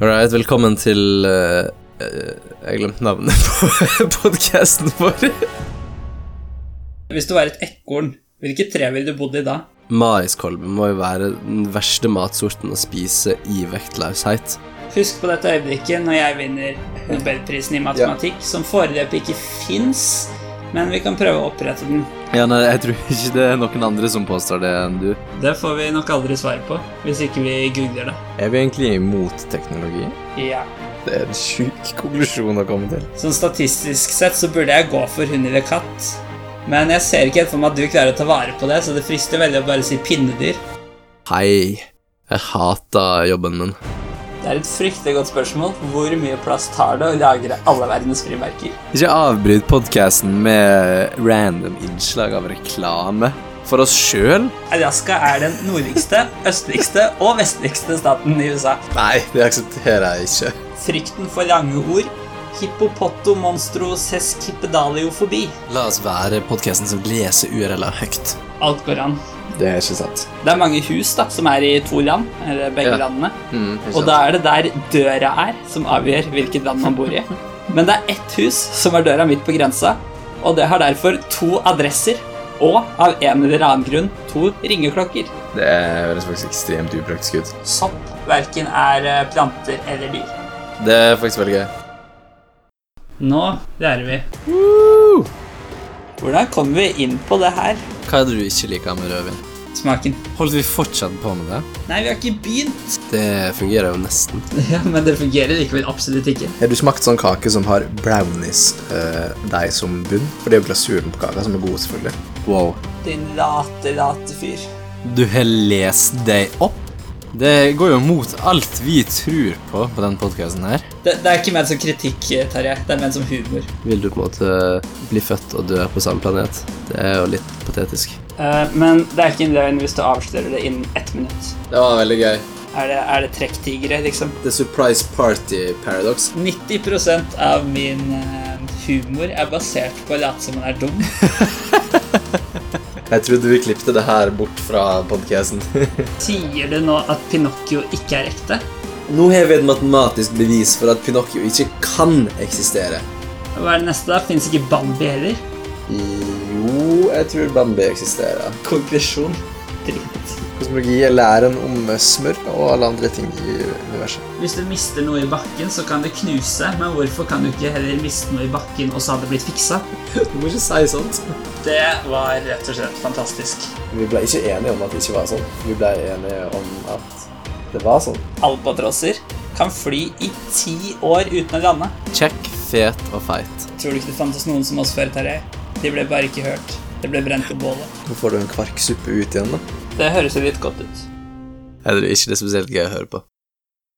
Alright, velkommen til eh, eh, Jeg glemte navnet på podkasten vår. Hvis du var et ekorn, hvilket tre ville du bodd i da? Maiskolben må jo være den verste matsorten å spise i vektløshet. Husk på dette øyeblikket når jeg vinner Nobelprisen i matematikk, som foreløpig ikke fins, men vi kan prøve å opprette den. Ja, nei, jeg tror ikke det er noen andre som påstår det enn du. Det får vi nok aldri svar på, hvis ikke vi googler det. Er vi egentlig imot teknologi? Ja. Det er en sjuk konklusjon å komme til. Sånn statistisk sett så burde jeg gå for hund eller katt. Men jeg ser ikke helt for meg at du klarer å ta vare på det, så det frister veldig å bare si pinnedyr. Hei. Jeg hater jobben min. Det er et fryktelig godt spørsmål. Hvor mye plass tar det å lagre alle verdens frimerker? Ikke avbryt podkasten med random innslag av reklame. For oss sjøl? Alaska er den nordligste, østligste og vestligste staten i USA. Nei, det aksepterer jeg ikke. Frykten for lange ord. Hippopotomonstrosesquipedaliofobi. La oss være podkasten som leser URL-er høyt. Alt går an. Det er ikke sant. Det er mange hus da, som er i to land, eller begge Ja. landene. Mm, Og da er det der døra er, som avgjør hvilket land man bor i. Men det er ett hus som er døra midt på grensa, og det har derfor to adresser. Og av en eller annen grunn to ringeklokker. Det høres faktisk ekstremt upraktisk ut. Sopp verken er eh, planter eller dyr. Det er faktisk veldig gøy. Nå lærer vi. Hvordan kom vi inn på det her? Hva er det du ikke liker med rødvin? Smaken. Holder vi fortsatt på med det? Nei, vi har ikke begynt. Det fungerer jo nesten. Ja, Men det fungerer likevel absolutt ikke. Har du smakt sånn kake som har brownies-deig som bunn? For det er jo glasuren på kaka som er god, selvfølgelig. Wow. Din late, late fyr. Du har lest deg opp? Det går jo mot alt vi tror på på den podkasten her. Det, det er ikke ment som kritikk, eh, Tarjei. Det er ment som humor. Vil du på en måte bli født og dø på samme planet? Det er jo litt patetisk. Eh, men det er ikke en løgn hvis du avslører det innen ett minutt. Det var veldig gøy. Er det, er det trekktigre, liksom? The surprise party paradox. 90 av min eh, humor er basert på å late som man er dum. Jeg trodde vi klippte det her bort fra podkasten. Sier du nå at Pinocchio ikke er ekte? Nå har vi et matematisk bevis for at Pinocchio ikke kan eksistere. Hva er det neste, da? Fins ikke Bambi heller? Jo, jeg tror Bambi eksisterer. Konklusjon. Dritt. Kosmologi er læren om smør og alle andre ting i universet. Hvis du mister noe i bakken, så kan det knuse, men hvorfor kan du ikke heller miste noe i bakken, og så hadde det blitt fiksa? Du må ikke si sånt. Det var rett og slett fantastisk. Vi ble ikke enige om at det ikke var sånn. Vi ble enige om at det var sånn. Albatrosser kan fly i ti år uten å lande. Kjekk, fet og feit. Tror du ikke det fantes noen som oss før, Tarjei? De ble bare ikke hørt. Det ble brent på bålet. Nå får du en kvarksuppe ut igjen, da. Det høres jo litt godt ut. Jeg tror ikke det er spesielt gøy å høre på.